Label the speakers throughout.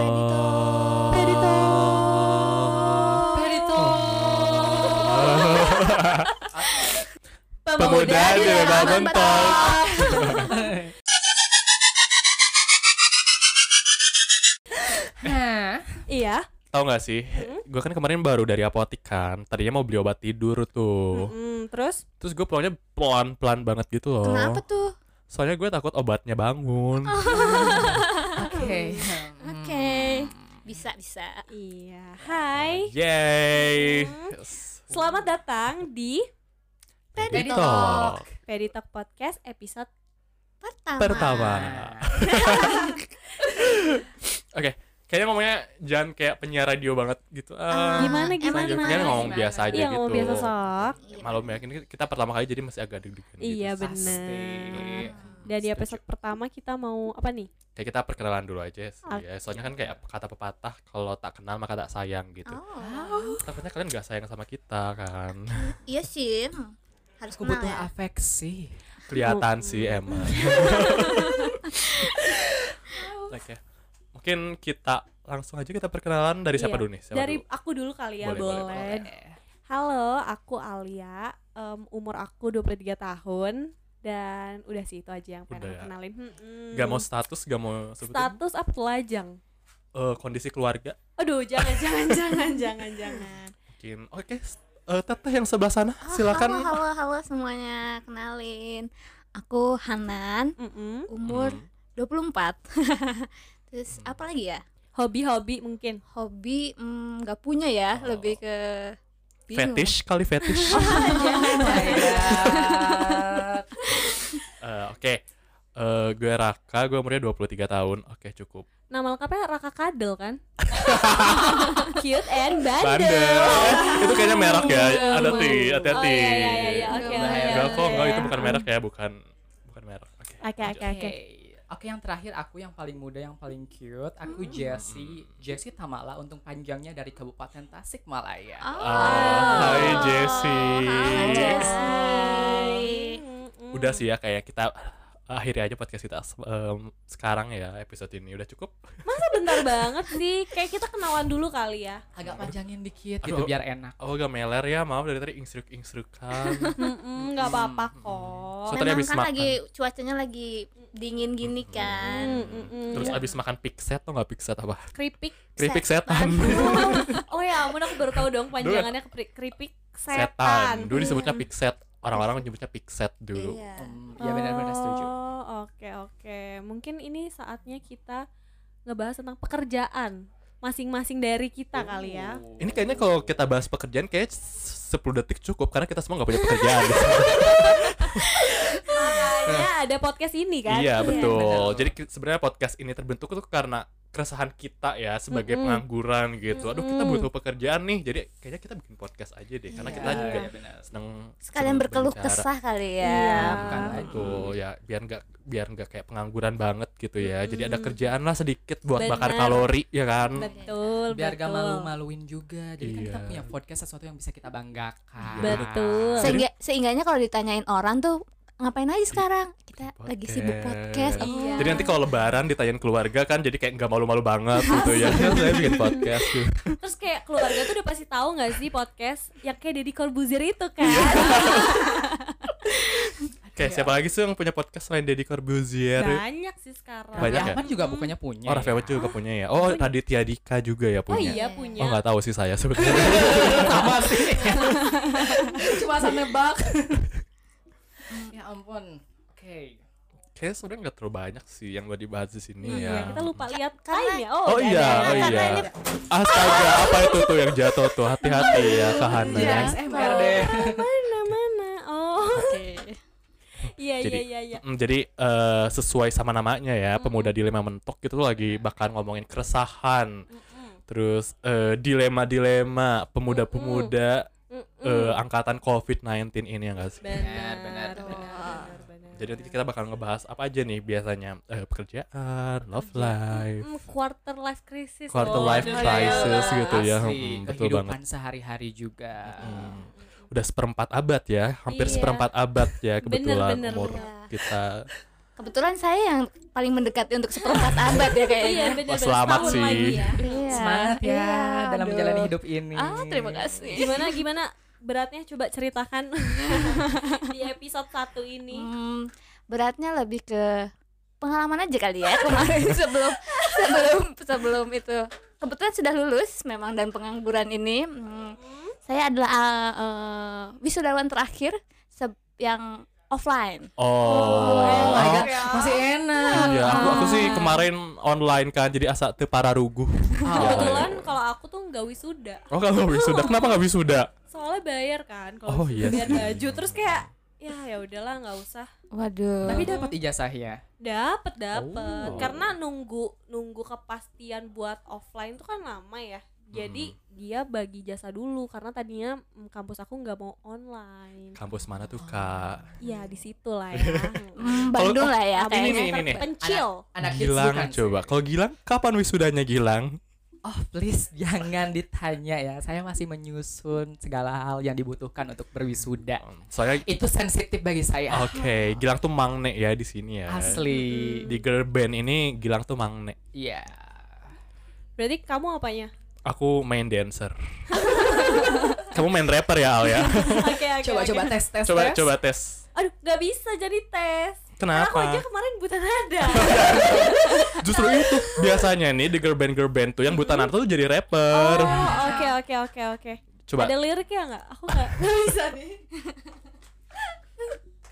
Speaker 1: Peditor.
Speaker 2: Peditor.
Speaker 3: Peditor.
Speaker 1: Pemuda di Rebel Mentok.
Speaker 3: Nah,
Speaker 2: Iya.
Speaker 1: Tahu nggak sih?
Speaker 2: Hmm?
Speaker 1: Gue kan kemarin baru dari apotik kan. Tadinya mau beli obat tidur tuh.
Speaker 2: Mm, terus
Speaker 1: Terus gue pulangnya pelan-pelan banget gitu loh.
Speaker 2: kenapa Oh, tuh?
Speaker 1: Soalnya gue takut obatnya bangun.
Speaker 3: oke.
Speaker 2: Oke. Hmm.
Speaker 4: Bisa, bisa.
Speaker 2: Eh, Iya. Hai.
Speaker 1: Yay.
Speaker 2: Hmm.
Speaker 1: Yes.
Speaker 2: Selamat datang di
Speaker 1: Peditor.
Speaker 2: Peditok Podcast episode
Speaker 4: Pertama.
Speaker 1: Pertama. Oke, kayaknya ngomongnya jangan kayak penyiar radio banget gitu. Ah,
Speaker 2: Gimana,
Speaker 4: emang
Speaker 2: gimana,
Speaker 1: sengaja.
Speaker 2: gimana?
Speaker 1: Kayaknya ngomong
Speaker 4: gimana?
Speaker 1: biasa aja
Speaker 2: Iya,
Speaker 1: gitu.
Speaker 2: ngomong biasa sok.
Speaker 4: Iya.
Speaker 1: Malam ya, ini kita pertama kali jadi masih agak deg-degan gitu.
Speaker 2: Iya,
Speaker 1: Pasti.
Speaker 2: bener. Dan di
Speaker 1: Setuju.
Speaker 2: episode pertama kita mau apa nih?
Speaker 1: Kayak kita perkenalan dulu aja sih.
Speaker 2: Oke.
Speaker 1: Ya. Soalnya kan kayak kata pepatah kalau tak kenal maka tak sayang gitu.
Speaker 4: Oh.
Speaker 1: Takutnya kalian gak sayang sama kita kan.
Speaker 4: Iya sih. Hmm. Harus
Speaker 3: Aku
Speaker 4: kenal
Speaker 3: butuh
Speaker 4: ya.
Speaker 3: afeksi.
Speaker 1: Kelihatan sih emang. Oke. Mungkin kita langsung aja kita perkenalan dari siapa
Speaker 2: Iya.
Speaker 1: dulu nih? Siapa
Speaker 2: Dari
Speaker 1: dulu?
Speaker 2: aku dulu kali ya,
Speaker 1: Boleh, boleh,
Speaker 2: boleh. Halo, aku Alia. Em, umur aku 23 tahun dan udah sih itu aja yang pengen
Speaker 1: Udah
Speaker 2: aku
Speaker 1: ya.
Speaker 2: kenalin. Mm-mm.
Speaker 1: Gak mau status, gak mau sebutin
Speaker 2: status apa telanjang?
Speaker 1: eh, kondisi keluarga.
Speaker 2: Aduh, jangan jangan jangan jangan jangan.
Speaker 1: Mungkin oke s- eh, teteh yang sebelah sana
Speaker 2: Ah,
Speaker 1: silakan.
Speaker 4: Oh, Halo, halo, halo semuanya. Kenalin. Aku Hanan,
Speaker 2: Mm-mm.
Speaker 4: umur
Speaker 1: Hmm.
Speaker 4: 24. Terus apa lagi ya?
Speaker 2: Hobi-hobi mungkin.
Speaker 4: Hobi mm, nggak punya ya,
Speaker 1: Oh.
Speaker 4: lebih ke bingung.
Speaker 1: fetish kali fetish. Eh, Oke. Eh, gue Raka, gue umurnya 23 tahun. Oke, cukup.
Speaker 2: Nama lengkapnya Raka Kadel kan? Cute and bandel.
Speaker 1: Bandel. Eh, itu kayaknya merek ya. Ada ti,
Speaker 2: Oh
Speaker 1: hati-hati.
Speaker 2: iya iya iya, iya. Oke oke.
Speaker 3: Bahaya.
Speaker 1: Enggak
Speaker 2: oke,
Speaker 1: kok, enggak itu
Speaker 2: oke.
Speaker 1: bukan merek ya, bukan bukan merek. Oke.
Speaker 2: Oke
Speaker 1: lanjut.
Speaker 2: oke oke.
Speaker 3: Oke, yang terakhir aku yang paling muda, yang paling cute. Aku Jessie, Jessie Tamala untung panjangnya dari Kabupaten Tasikmalaya.
Speaker 4: Oh.
Speaker 1: Ah, hai, Jessi.
Speaker 4: Hai, Jessi.
Speaker 2: Mm-mm.
Speaker 1: Udah sih ya kayak kita akhirnya aja podcast kita em, sekarang ya episode ini udah cukup.
Speaker 2: Masa bentar banget sih? Kayak kita kenalan dulu kali ya.
Speaker 3: Agak panjangin dikit
Speaker 1: Aduh.
Speaker 3: gitu biar enak.
Speaker 1: Oh, agak meler ya, maaf dari tadi instruk-instrukan.
Speaker 2: Mm-mm, Nggak apa-apa kok.
Speaker 1: So- Tadi
Speaker 4: Memang
Speaker 1: habis
Speaker 4: kan
Speaker 1: makan. Hmm.
Speaker 4: lagi cuacanya lagi dingin gini kan.
Speaker 2: Mm-mm.
Speaker 1: Terus
Speaker 4: Iya.
Speaker 1: abis makan pixet tau gak pixet apa?
Speaker 2: Keripik.
Speaker 1: Keripik setan.
Speaker 2: Oh ya, ampun aku baru tahu dong panjangannya kepri- keripik
Speaker 1: setan.
Speaker 2: setan.
Speaker 1: Dulu disebutnya pixet. Orang-orang menyebutnya pixet dulu.
Speaker 4: Iya.
Speaker 3: Hmm, ya benar-benar setuju.
Speaker 2: Oh, Oke oke. Mungkin ini saatnya kita ngebahas tentang pekerjaan masing-masing dari kita kali ya.
Speaker 1: Ini kayaknya kalau kita bahas pekerjaan kayak 10 detik cukup karena kita semua nggak punya pekerjaan.
Speaker 2: Makanya ada podcast ini kan.
Speaker 1: iya, betul.
Speaker 3: benar.
Speaker 1: Jadi ki- sebenarnya podcast ini terbentuk tuh karena keresahan kita ya sebagai
Speaker 2: Mm-mm.
Speaker 1: pengangguran gitu. Aduh, kita
Speaker 2: Mm-mm.
Speaker 1: butuh pekerjaan nih. Jadi kayaknya kita bikin podcast aja deh karena
Speaker 3: Iya,
Speaker 1: kita juga ya
Speaker 3: iya, benar.
Speaker 1: seneng
Speaker 4: Sekalian
Speaker 1: seneng
Speaker 4: berkeluh
Speaker 1: berbicara.
Speaker 4: kesah kali
Speaker 2: Iya.
Speaker 4: ya.
Speaker 3: Bukan lagi.
Speaker 1: Betul, ya biar nggak biar nggak kayak pengangguran banget gitu ya. Jadi ada
Speaker 2: Mm.
Speaker 1: kerjaan lah sedikit buat bakar
Speaker 2: Benar.
Speaker 1: kalori ya kan.
Speaker 4: Hmm.
Speaker 2: Betul.
Speaker 3: biar
Speaker 2: betul.
Speaker 3: gak malu-maluin juga jadi kan kita
Speaker 1: Iya.
Speaker 3: punya podcast sesuatu yang bisa kita banggakan
Speaker 2: Betul.
Speaker 4: Sehingga, seinggaknya kalau ditanyain orang tuh ngapain aja sekarang? Kita
Speaker 1: Podcast.
Speaker 4: lagi sibuk podcast. apa?
Speaker 2: Iya.
Speaker 1: Jadi nanti kalau lebaran ditanyain keluarga kan jadi kayak nggak malu-malu banget gitu ya. Kan saya bikin podcast gitu.
Speaker 2: Terus kayak keluarga tuh udah pasti tahu nggak sih podcast yang kayak Deddy Corbuzier itu kan?
Speaker 1: Iya, Oke, siapa lagi sih yang punya podcast selain Deddy Corbuzier?
Speaker 2: Banyak sih sekarang.
Speaker 1: Banyak ya?
Speaker 3: banyak juga bukannya
Speaker 1: Oh,
Speaker 3: punya
Speaker 1: Raffi Ahmad juga punya ya. Oh,
Speaker 2: Punya.
Speaker 1: Raditya Dika juga ya
Speaker 2: Oh
Speaker 1: punya.
Speaker 2: iya
Speaker 1: Oh,
Speaker 2: punya.
Speaker 1: nggak tahu sih saya sebetulnya.
Speaker 3: sama sih cuma sama nebak ya ampun oke
Speaker 1: Kayaknya sebenarnya nggak terlalu banyak sih yang buat dibahas di sini
Speaker 2: Iya,
Speaker 1: ya.
Speaker 2: Kita lupa lihat
Speaker 4: Karena-
Speaker 2: time ya. Oh,
Speaker 1: Oh
Speaker 2: udah
Speaker 1: iya,
Speaker 2: ada.
Speaker 1: oh
Speaker 4: Karena
Speaker 1: iya.
Speaker 4: ini-
Speaker 1: Astaga, apa itu tuh yang jatuh tuh? Hati-hati ya, Kahana.
Speaker 2: Iya.
Speaker 3: Jadi ASMR deh
Speaker 2: Mana mana. Oh. Iya
Speaker 1: Jadi-
Speaker 2: iya iya iya.
Speaker 1: Mm, jadi eh, sesuai sama namanya ya, pemuda dilema mentok itu tuh
Speaker 2: Iya.
Speaker 1: lagi bakal ngomongin keresahan, terus eh, dilema-dilema pemuda-pemuda
Speaker 2: Mm-mm.
Speaker 1: eh, angkatan COVID-19 ini ya guys.
Speaker 2: Benar,
Speaker 3: Benar, benar,
Speaker 2: benar, benar.
Speaker 1: Jadi nanti kita bakal ngebahas apa aja nih biasanya Eh, pekerjaan, love life,
Speaker 2: Mm, quarter life crisis. oh.
Speaker 1: quarter
Speaker 2: loh.
Speaker 1: life
Speaker 2: Aduh,
Speaker 1: crisis
Speaker 2: iya.
Speaker 1: gitu ya, Mm,
Speaker 3: Asli,
Speaker 1: betul banget.
Speaker 3: kehidupan sehari-hari juga
Speaker 4: Iya.
Speaker 1: Mm. Udah seperempat abad ya, hampir
Speaker 2: Iya.
Speaker 1: seperempat abad ya
Speaker 2: Bener,
Speaker 1: kebetulan
Speaker 2: bener,
Speaker 1: umur
Speaker 2: bener.
Speaker 1: kita.
Speaker 4: Kebetulan saya yang paling mendekati untuk seperempat abad ya
Speaker 2: Iya,
Speaker 4: kayaknya.
Speaker 1: Wah, selamat
Speaker 2: setahun
Speaker 1: sih.
Speaker 2: lagi ya.
Speaker 4: Iya.
Speaker 3: Iya. Semangat ya
Speaker 4: Iya,
Speaker 3: dalam
Speaker 4: aduh.
Speaker 3: menjalani hidup ini.
Speaker 4: Ah, terima kasih.
Speaker 2: Gimana gimana beratnya coba ceritakan di episode satu ini.
Speaker 4: Hmm, beratnya lebih ke pengalaman aja kali ya kemarin sebelum sebelum sebelum itu. Kebetulan sudah lulus memang dan pengangguran ini. hmm, saya adalah uh, uh, wisudawan terakhir se- yang offline.
Speaker 1: Oh,
Speaker 3: Oh my God,
Speaker 1: Oh,
Speaker 3: masih enak.
Speaker 1: Iya, aku, aku sih kemarin online kan, jadi asa teu pararuguh.
Speaker 3: Ah.
Speaker 2: Kebetulan kalau aku tuh nggak wisuda,
Speaker 1: Iya. Oh kalau nggak wisuda, kenapa nggak wisuda?
Speaker 2: soalnya bayar kan
Speaker 1: Oh,
Speaker 2: kalau
Speaker 1: iya
Speaker 2: wisuda bayar
Speaker 1: sih.
Speaker 2: baju terus kayak ya ya udahlah nggak usah
Speaker 4: Waduh.
Speaker 3: Tapi dapat ijazah ya.
Speaker 2: Dapet dapet
Speaker 1: Oh.
Speaker 2: karena nunggu nunggu kepastian buat offline tuh kan lama ya. Jadi
Speaker 1: Hmm.
Speaker 2: dia bagi jasa dulu karena tadinya mm, kampus aku nggak mau online.
Speaker 1: Kampus mana tuh kak?
Speaker 2: Ya di situ lah ya.
Speaker 4: Hmm, Bandung lah ya
Speaker 2: Tapi
Speaker 1: ini nih,
Speaker 4: kayaknya.
Speaker 1: ini nih.
Speaker 2: Terpencil.
Speaker 3: Anak kids
Speaker 1: Gilang
Speaker 3: bukan sih?
Speaker 1: coba. Kalau Gilang, kapan wisudanya Gilang?
Speaker 3: Oh please jangan ditanya ya. Saya masih menyusun segala hal yang dibutuhkan untuk berwisuda.
Speaker 1: Soalnya, oke,
Speaker 3: Itu sensitif bagi
Speaker 1: Oh.
Speaker 3: saya.
Speaker 1: Gilang tuh mangne ya di sini ya.
Speaker 3: Asli.
Speaker 1: Di girl band ini Gilang tuh mangne.
Speaker 3: Iya.
Speaker 2: Berarti kamu apanya?
Speaker 1: Aku main dancer. Kamu main rapper ya Al ya?
Speaker 2: Oke oke. oke.
Speaker 3: Coba-coba tes tes
Speaker 1: coba
Speaker 3: tes.
Speaker 1: coba tes.
Speaker 2: Aduh nggak bisa jadi tes. Karena aku aja
Speaker 1: Kenapa?
Speaker 2: kemarin buta nada.
Speaker 1: Justru itu biasanya nih di girl band girl band tuh yang buta nada tuh jadi rapper.
Speaker 2: Mm-hmm. Oh, Oke oke oke oke.
Speaker 1: Coba.
Speaker 2: Ada liriknya nggak? Aku nggak nggak bisa nih.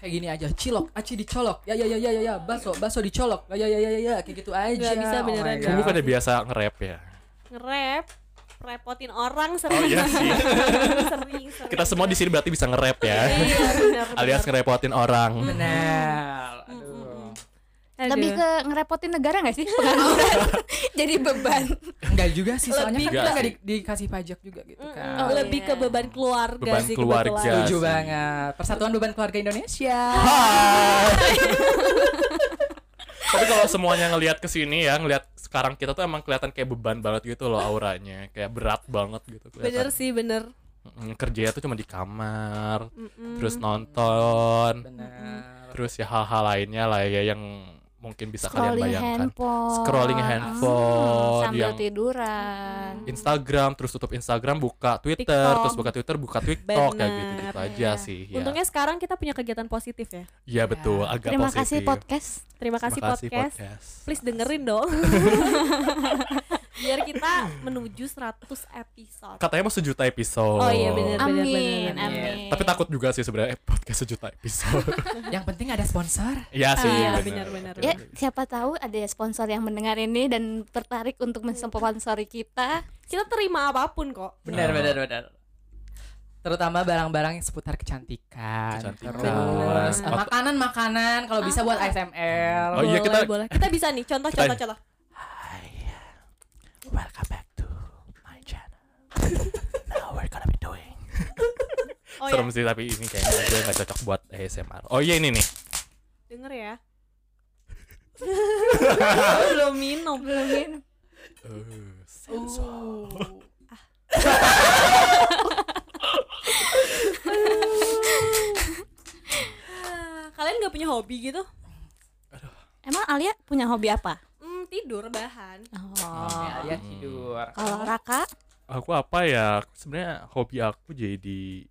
Speaker 3: Kayak gini aja. Cilok, aci dicolok. Ya ya ya ya ya ya. Baso, baso dicolok. Ya ya ya ya ya, ya. Kayak gitu aja.
Speaker 2: Nggak bisa
Speaker 3: Oh my
Speaker 2: beneran.
Speaker 3: God.
Speaker 1: Kamu bukannya biasa nge-rap ya?
Speaker 2: Nge-rap repotin orang sering.
Speaker 1: Oh iya sih.
Speaker 2: sering, sering.
Speaker 1: Kita semua di sini berarti bisa nge-rap ya.
Speaker 2: Iya, benar, benar.
Speaker 1: Alias ngerepotin orang.
Speaker 3: Benar. Aduh.
Speaker 2: Aduh.
Speaker 4: Lebih ke ngerepotin negara nggak sih pengangguran? Jadi beban.
Speaker 3: Enggak juga sih
Speaker 1: Lebih
Speaker 3: soalnya kan kita
Speaker 1: nggak
Speaker 3: enggak
Speaker 1: sih.
Speaker 3: di- dikasih pajak juga gitu
Speaker 2: Mm-mm.
Speaker 3: kan.
Speaker 4: Oh,
Speaker 2: Mm, lebih
Speaker 4: iya.
Speaker 2: ke beban keluarga
Speaker 1: Beban
Speaker 2: sih
Speaker 1: keluarga. Iya,
Speaker 2: kebetulan.
Speaker 3: Setuju
Speaker 1: Asli.
Speaker 3: banget. Persatuan Beban Keluarga Indonesia.
Speaker 1: Tapi kalau semuanya ngelihat ke sini ya, ngelihat sekarang kita tuh emang kelihatan kayak beban banget gitu loh auranya, kayak berat banget gitu kelihatan.
Speaker 2: Bener sih, bener.
Speaker 1: Mm, Kerjanya tuh cuma di kamar,
Speaker 2: Mm-mm.
Speaker 1: terus nonton,
Speaker 3: Benar.
Speaker 1: terus ya hal-hal lainnya lah ya yang mungkin bisa kalian
Speaker 4: Scrolling
Speaker 1: bayangkan.
Speaker 4: handphone.
Speaker 1: Scrolling handphone
Speaker 4: Ah, sambil
Speaker 1: yang-
Speaker 4: tiduran.
Speaker 1: Instagram, terus tutup Instagram, buka Twitter,
Speaker 2: TikTok.
Speaker 1: terus buka Twitter, buka TikTok kayak
Speaker 2: Bener.
Speaker 1: gitu, gitu aja
Speaker 4: Iya.
Speaker 1: sih. Ya.
Speaker 2: Untungnya sekarang kita punya kegiatan positif ya.
Speaker 1: Iya, betul, agak
Speaker 4: Terima kasih
Speaker 1: positif.
Speaker 4: podcast.
Speaker 2: Terima kasih,
Speaker 1: Terima kasih
Speaker 2: podcast. Please dengerin dong. Biar kita menuju 100 episode.
Speaker 1: Katanya mau sejuta episode.
Speaker 2: Oh iya, bener. Benar-benar,
Speaker 4: Amin,
Speaker 2: benar-benar.
Speaker 4: amin.
Speaker 1: Tapi takut juga sih sebenarnya eh, podcast sejuta episode.
Speaker 3: Yang penting ada sponsor.
Speaker 1: Iya sih.
Speaker 2: Iya,
Speaker 1: bener.
Speaker 2: benar-benar.
Speaker 4: Ya, siapa tahu ada ya sponsor yang mendengar ini dan tertarik untuk mensponsori kita.
Speaker 2: Kita terima apapun kok.
Speaker 1: Ah.
Speaker 3: Benar, benar, benar. Terutama barang-barang yang seputar kecantikan.
Speaker 1: Kecantikan.
Speaker 3: Terus eh,
Speaker 1: Mak-
Speaker 3: makanan-makanan kalau bisa buat ASMR.
Speaker 1: Oh iya,
Speaker 2: boleh,
Speaker 1: kita-
Speaker 2: boleh. Kita bisa nih
Speaker 1: Kita-
Speaker 2: contoh-contoh contoh.
Speaker 3: Hi, welcome back to my channel. Now we're gonna be doing.
Speaker 2: Oh
Speaker 1: Serem
Speaker 2: iya,
Speaker 1: sih tapi ini kayaknya gue gak cocok buat ASMR. Oh iya ini nih.
Speaker 2: denger ya. belum minum, belum minum.
Speaker 1: Eh, sensor.
Speaker 3: Oh.
Speaker 2: Ah, Kalian nggak punya hobi gitu?
Speaker 4: Emang Alia punya hobi apa?
Speaker 2: Hmm, tidur bahan.
Speaker 4: Oh.
Speaker 3: Ya, dia tidur.
Speaker 4: Kalau Raka,
Speaker 1: Aku apa ya? Aku Sebenarnya hobi aku jadi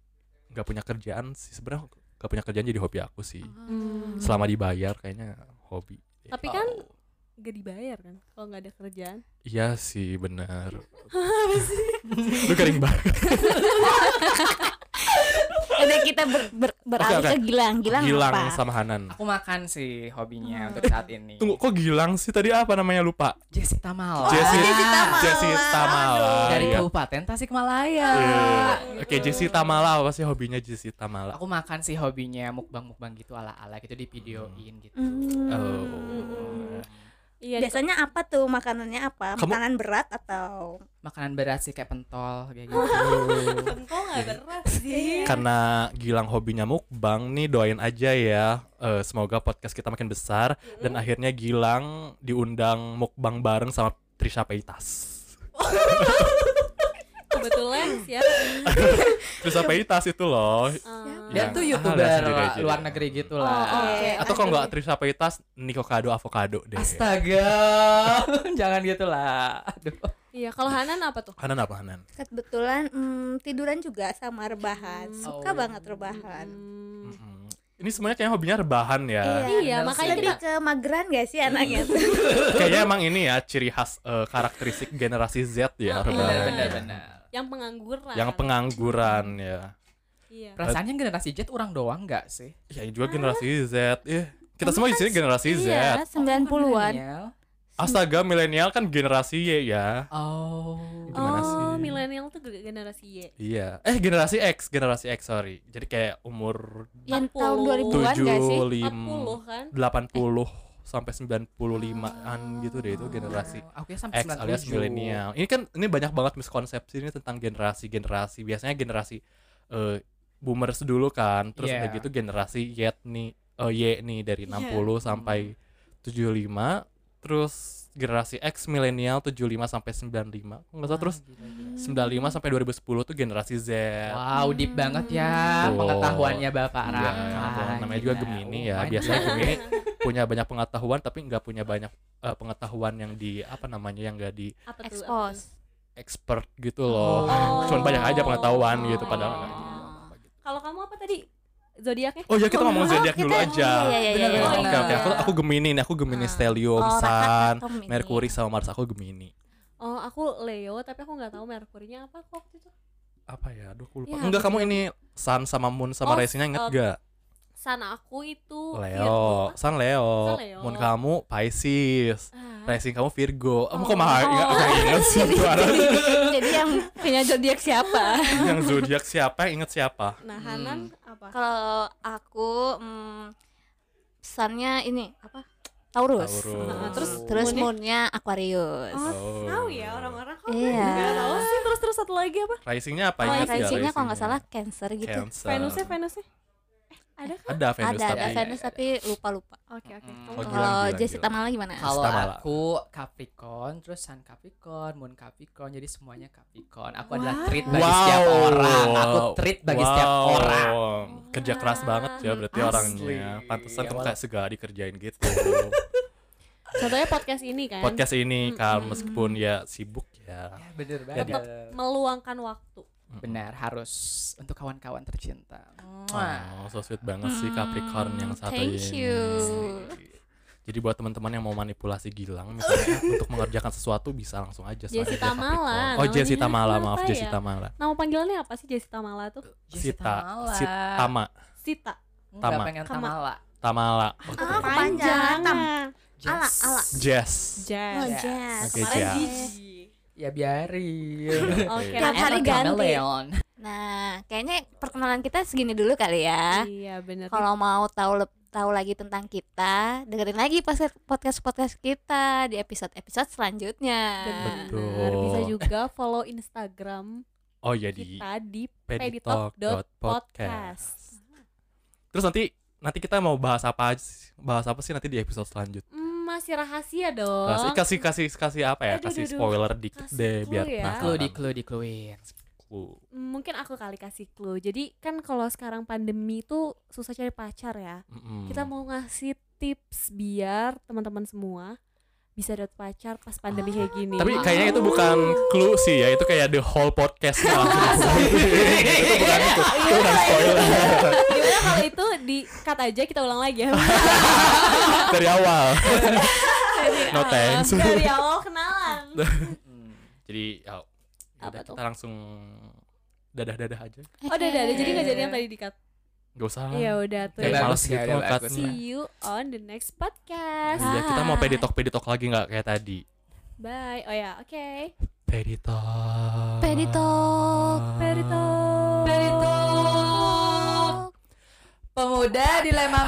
Speaker 1: nggak punya kerjaan sih. Sebenarnya nggak punya kerjaan jadi hobi aku sih.
Speaker 2: Hmm.
Speaker 1: Selama dibayar kayaknya hobi.
Speaker 2: Tapi kan gak dibayar kan kalau nggak ada kerjaan.
Speaker 1: Iya sih benar. Lu kering banget.
Speaker 4: ada Eh, kita ber, ber- beralih
Speaker 1: Oke, oke.
Speaker 4: ke Gilang. Gilang,
Speaker 1: Gilang
Speaker 4: apa?
Speaker 1: sama Hanan.
Speaker 3: Hmm. Aku makan sih hobinya untuk saat ini.
Speaker 1: Tunggu kok Gilang sih tadi apa namanya lupa?
Speaker 3: Jesse Tamala.
Speaker 1: Jesse
Speaker 4: Jesse Tamala.
Speaker 1: Jesse Tamala.
Speaker 3: Ah. dari
Speaker 1: iya.
Speaker 3: Kabupaten Tasikmalaya.
Speaker 1: Iya. Oke, Jesse Tamala apa sih hobinya Jesse Tamala?
Speaker 3: Aku makan sih hobinya mukbang-mukbang gitu ala-ala gitu di videoin gitu.
Speaker 4: Hmm.
Speaker 1: Oh.
Speaker 2: Iya.
Speaker 4: Biasanya apa tuh makanannya apa?
Speaker 1: Kamu-
Speaker 4: Makanan berat atau
Speaker 3: Makanan berat sih kayak pentol kayak gitu.
Speaker 2: Kentol nggak
Speaker 1: Iya.
Speaker 2: berat sih.
Speaker 1: Karena Gilang hobinya mukbang nih doain aja ya. Eh, semoga podcast kita makin besar dan akhirnya Gilang diundang mukbang bareng sama Trisha Paytas.
Speaker 2: kebetulan ya. siapa
Speaker 1: Trisapeitas itu loh. Yang
Speaker 3: Dia tuh
Speaker 1: ah,
Speaker 3: youtuber
Speaker 1: lihat sendiri aja
Speaker 3: luar
Speaker 1: deh.
Speaker 3: negeri gitu
Speaker 4: Oh,
Speaker 3: lah.
Speaker 4: oke.
Speaker 1: Atau kalau nggak Trisapeitas, Nikocado Avocado deh.
Speaker 3: Astaga, jangan gitu lah. Aduh.
Speaker 2: iya kalau Hanan apa tuh
Speaker 1: Hanan apa Hanan?
Speaker 4: Kebetulan mm, tiduran juga sama rebahan.
Speaker 2: Hmm.
Speaker 4: Suka
Speaker 3: Oh.
Speaker 4: banget rebahan.
Speaker 2: Hmm.
Speaker 1: Mm-mm. Ini semuanya kayaknya hobinya rebahan ya.
Speaker 2: Iya,
Speaker 3: bener
Speaker 2: makanya
Speaker 3: sih.
Speaker 4: Lebih ke mageran gak sih anaknya tuh?
Speaker 3: Iya.
Speaker 1: Kayaknya emang ini ya ciri khas eh, karakteristik generasi Z ya
Speaker 3: Iya, benar
Speaker 1: rebahan.
Speaker 3: benar benar.
Speaker 2: yang pengangguran
Speaker 1: Yang pengangguran ya.
Speaker 2: iya
Speaker 3: Perasaannya generasi Z orang doang nggak sih?
Speaker 1: Ya
Speaker 3: Ah.
Speaker 1: juga generasi Z. Ih, kita semua di sini
Speaker 3: kan
Speaker 1: generasi Z.
Speaker 4: Iya, 90-an.
Speaker 3: Millennial.
Speaker 1: Astaga, milenial kan generasi Y ya.
Speaker 3: Oh.
Speaker 1: Gimana sih?
Speaker 2: oh milenial tuh generasi Y
Speaker 1: Iya. Eh, generasi X, generasi X, sorry. Jadi kayak umur
Speaker 2: 40.
Speaker 4: Yang tahun 2000-an gak sih?
Speaker 1: 75
Speaker 2: 40 kan
Speaker 1: 80 sampai 95-an gitu deh itu generasi
Speaker 3: Oh, Aku ya sampai
Speaker 1: X alias
Speaker 3: 97.
Speaker 1: milenial. Ini kan ini banyak banget miskonsepsi ini tentang generasi-generasi. Biasanya generasi eh, boomers dulu kan, terus udah
Speaker 3: Yeah.
Speaker 1: gitu generasi Y nih, eh, Y nih
Speaker 3: Iya.
Speaker 1: dari 60 sampai 75, terus generasi X milenial 75 sampai 95. Enggak
Speaker 3: Oh,
Speaker 1: salah terus
Speaker 3: Gila, gila.
Speaker 1: 95 sampai 2010 tuh generasi Z.
Speaker 3: Wow, deep banget ya
Speaker 1: Betul.
Speaker 3: pengetahuannya Bapak
Speaker 1: Iya,
Speaker 3: Raka.
Speaker 1: dong. namanya juga
Speaker 3: Gila.
Speaker 1: Gemini
Speaker 3: Oh
Speaker 1: ya.
Speaker 3: my
Speaker 1: Biasanya
Speaker 3: God.
Speaker 1: Gemini punya banyak pengetahuan tapi nggak punya banyak eh, pengetahuan yang di apa namanya yang nggak di
Speaker 2: apa tuh
Speaker 4: Expose.
Speaker 1: expert gitu loh.
Speaker 3: Oh.
Speaker 1: Cuman banyak aja pengetahuan gitu padahal
Speaker 2: Oh.
Speaker 1: nggak gitu.
Speaker 2: kalau kamu apa tadi zodiaknya
Speaker 1: Oh ya kita ngomong zodiak dulu aja.
Speaker 4: Iya, iya, iya.
Speaker 3: Bener,
Speaker 1: Oh,
Speaker 4: iya.
Speaker 1: Oke
Speaker 3: bener.
Speaker 1: oke aku aku Gemini nih, aku Gemini
Speaker 4: Ah.
Speaker 1: Stellium,
Speaker 4: Oh,
Speaker 1: Sun,
Speaker 4: Raka Tomini.
Speaker 1: Merkuri sama Mars aku Gemini.
Speaker 2: oh aku Leo tapi aku nggak tahu merkurinya apa kok waktu itu
Speaker 1: Apa ya? Aduh aku lupa.
Speaker 4: Iya,
Speaker 2: Ya,
Speaker 1: Enggak kamu ini Sun sama Moon sama
Speaker 2: Oh,
Speaker 1: Resinya inget
Speaker 2: eh,
Speaker 1: gak?
Speaker 2: sana aku
Speaker 4: Iya,
Speaker 2: itu
Speaker 1: Leo,
Speaker 2: Virgo.
Speaker 1: Sun Leo,
Speaker 2: Sun Leo.
Speaker 1: Moon kamu Pisces.
Speaker 2: Ah.
Speaker 1: Racing kamu Virgo. Kamu kok
Speaker 2: Oh.
Speaker 1: malah ingat aku ingat sih suara
Speaker 4: Jadi yang punya zodiak siapa?
Speaker 1: yang zodiak siapa inget siapa?
Speaker 2: nah Hanan apa
Speaker 4: Kalau aku mm, pesannya ini apa? Taurus.
Speaker 1: Taurus.
Speaker 4: Nah, terus
Speaker 2: Oh.
Speaker 4: terus
Speaker 2: Moonnya?
Speaker 4: moonnya Aquarius.
Speaker 2: Oh,
Speaker 1: Oh.
Speaker 2: tahu ya orang-orang kok
Speaker 4: Iya.
Speaker 2: nggak tahu sih terus terus satu lagi apa
Speaker 1: Racingnya apa
Speaker 4: Oh,
Speaker 1: ingat nggak
Speaker 4: rising-nya kalau nggak salah
Speaker 1: rising-nya?
Speaker 4: Cancer gitu.
Speaker 1: Cancer.
Speaker 2: Venusnya Venusnya eh ada kan
Speaker 1: Ada Venus
Speaker 4: ada
Speaker 1: tapi
Speaker 4: ada Venus tapi lupa lupa.
Speaker 2: oke oke
Speaker 3: Mm.
Speaker 1: Oh,
Speaker 2: Kamu
Speaker 1: gila,
Speaker 2: tahu.
Speaker 4: Kalau
Speaker 1: gila,
Speaker 4: Jesse
Speaker 1: gila.
Speaker 4: Tamala gimana?
Speaker 3: Kalau
Speaker 1: Stamala.
Speaker 3: aku Capricorn, terus Sun Capricorn, Moon Capricorn, jadi semuanya Capricorn. Aku adalah
Speaker 2: Wow.
Speaker 3: treat bagi setiap orang. Aku treat bagi setiap
Speaker 1: Wow.
Speaker 3: orang.
Speaker 1: Kerja keras banget ya berarti
Speaker 3: Asli.
Speaker 1: orangnya. Pantesan kamu
Speaker 3: Awal-
Speaker 1: kayak segala dikerjain gitu.
Speaker 2: contohnya podcast ini kan
Speaker 1: Podcast ini kan meskipun ya sibuk ya.
Speaker 3: Ya, bener
Speaker 1: Jadi-
Speaker 3: banget.
Speaker 2: Tetap meluangkan waktu
Speaker 3: Benar, harus untuk kawan-kawan tercinta.
Speaker 1: Oh,
Speaker 3: Mwah.
Speaker 1: so sweet banget sih Capricorn yang satu
Speaker 4: Mm. Hmm, Thank
Speaker 1: ini.
Speaker 4: you.
Speaker 1: Jadi buat teman-teman yang mau manipulasi Gilang misalnya untuk mengerjakan sesuatu bisa langsung aja sama
Speaker 2: Jessy
Speaker 1: dia Capricorn.
Speaker 2: Tamala,
Speaker 1: Oh,
Speaker 2: namanya
Speaker 1: Jessy Tamala,
Speaker 2: kenapa
Speaker 1: maaf
Speaker 2: ya?
Speaker 1: Jessy Tamala.
Speaker 2: nama panggilannya apa sih Jessy Tamala tuh
Speaker 1: Sita,
Speaker 3: Tamala.
Speaker 1: Sit- Tama,
Speaker 2: Sita
Speaker 3: Nggak
Speaker 1: Tama.
Speaker 3: pengen
Speaker 2: Kama.
Speaker 3: Tamala.
Speaker 1: Tamala,
Speaker 4: Ah,
Speaker 2: Panjang. iya.
Speaker 4: kepanjangan. Ala,
Speaker 3: Jess.
Speaker 4: ala.
Speaker 1: Jess.
Speaker 2: Jazz
Speaker 4: Oh,
Speaker 3: Yes.
Speaker 4: jazz.
Speaker 1: Oke,
Speaker 2: kemarin
Speaker 1: jazz.
Speaker 2: Gigi
Speaker 3: Ya biarin.
Speaker 2: oke
Speaker 4: Tiap hari
Speaker 3: Emang
Speaker 4: ganti.
Speaker 3: kameleon.
Speaker 4: Nah, kayaknya perkenalan kita segini dulu kali ya.
Speaker 2: iya bener
Speaker 4: Kalau mau tahu leb- tahu lagi tentang kita, dengerin lagi podcast podcast kita di episode-episode selanjutnya.
Speaker 2: bener
Speaker 1: Betul.
Speaker 2: bisa juga follow Instagram
Speaker 1: Oh ya di
Speaker 2: kita di
Speaker 1: peditalk.podcast.
Speaker 2: peditalk.podcast
Speaker 1: Terus nanti nanti kita mau bahas apa aja sih? Bahas apa sih nanti di episode selanjutnya?
Speaker 2: Hmm, masih rahasia dong
Speaker 1: Kasih kasih kasih kasih apa ya?
Speaker 2: Oh. Aduh,
Speaker 1: kasih
Speaker 2: aduh, aduh.
Speaker 1: spoiler dikit
Speaker 2: Kasih
Speaker 1: deh
Speaker 2: clue
Speaker 1: biar
Speaker 2: ya.
Speaker 3: Clue di
Speaker 1: penasaran.
Speaker 3: clue di cluein.
Speaker 1: Clue.
Speaker 2: mungkin aku kali kasih clue jadi kan kalau sekarang pandemi itu susah cari pacar ya
Speaker 1: Mm-mm.
Speaker 2: kita mau ngasih tips biar teman-teman semua bisa dapat pacar pas pandemi kayak gini Oh.
Speaker 1: Tapi kayaknya itu bukan clue sih ya, itu kayak the whole podcast
Speaker 2: Iya,
Speaker 1: lah. itu bukan itu, itu bukan spoiler
Speaker 2: gimana kalau itu di cut aja kita ulang lagi ya
Speaker 1: dari awal. No thanks.
Speaker 2: dari awal kenalan
Speaker 1: Jadi ya,
Speaker 2: Apa
Speaker 1: udah
Speaker 2: tuh?
Speaker 1: kita langsung dadah-dadah aja.
Speaker 2: oh udah udah udah, jadi nggak jadi yang tadi di cut
Speaker 1: Gak usah. lah.
Speaker 2: ya udah tuh
Speaker 1: Kayak
Speaker 3: Udah
Speaker 1: males
Speaker 3: bagus,
Speaker 1: gitu
Speaker 3: udah
Speaker 1: ngangkat.
Speaker 3: bagus.
Speaker 2: see you on the next podcast
Speaker 1: Iya, kita mau peditok-peditok lagi nggak kayak tadi?
Speaker 2: bye oh ya oke
Speaker 1: Peditok.
Speaker 4: Peditalk.
Speaker 2: Perito
Speaker 3: Pemuda dilema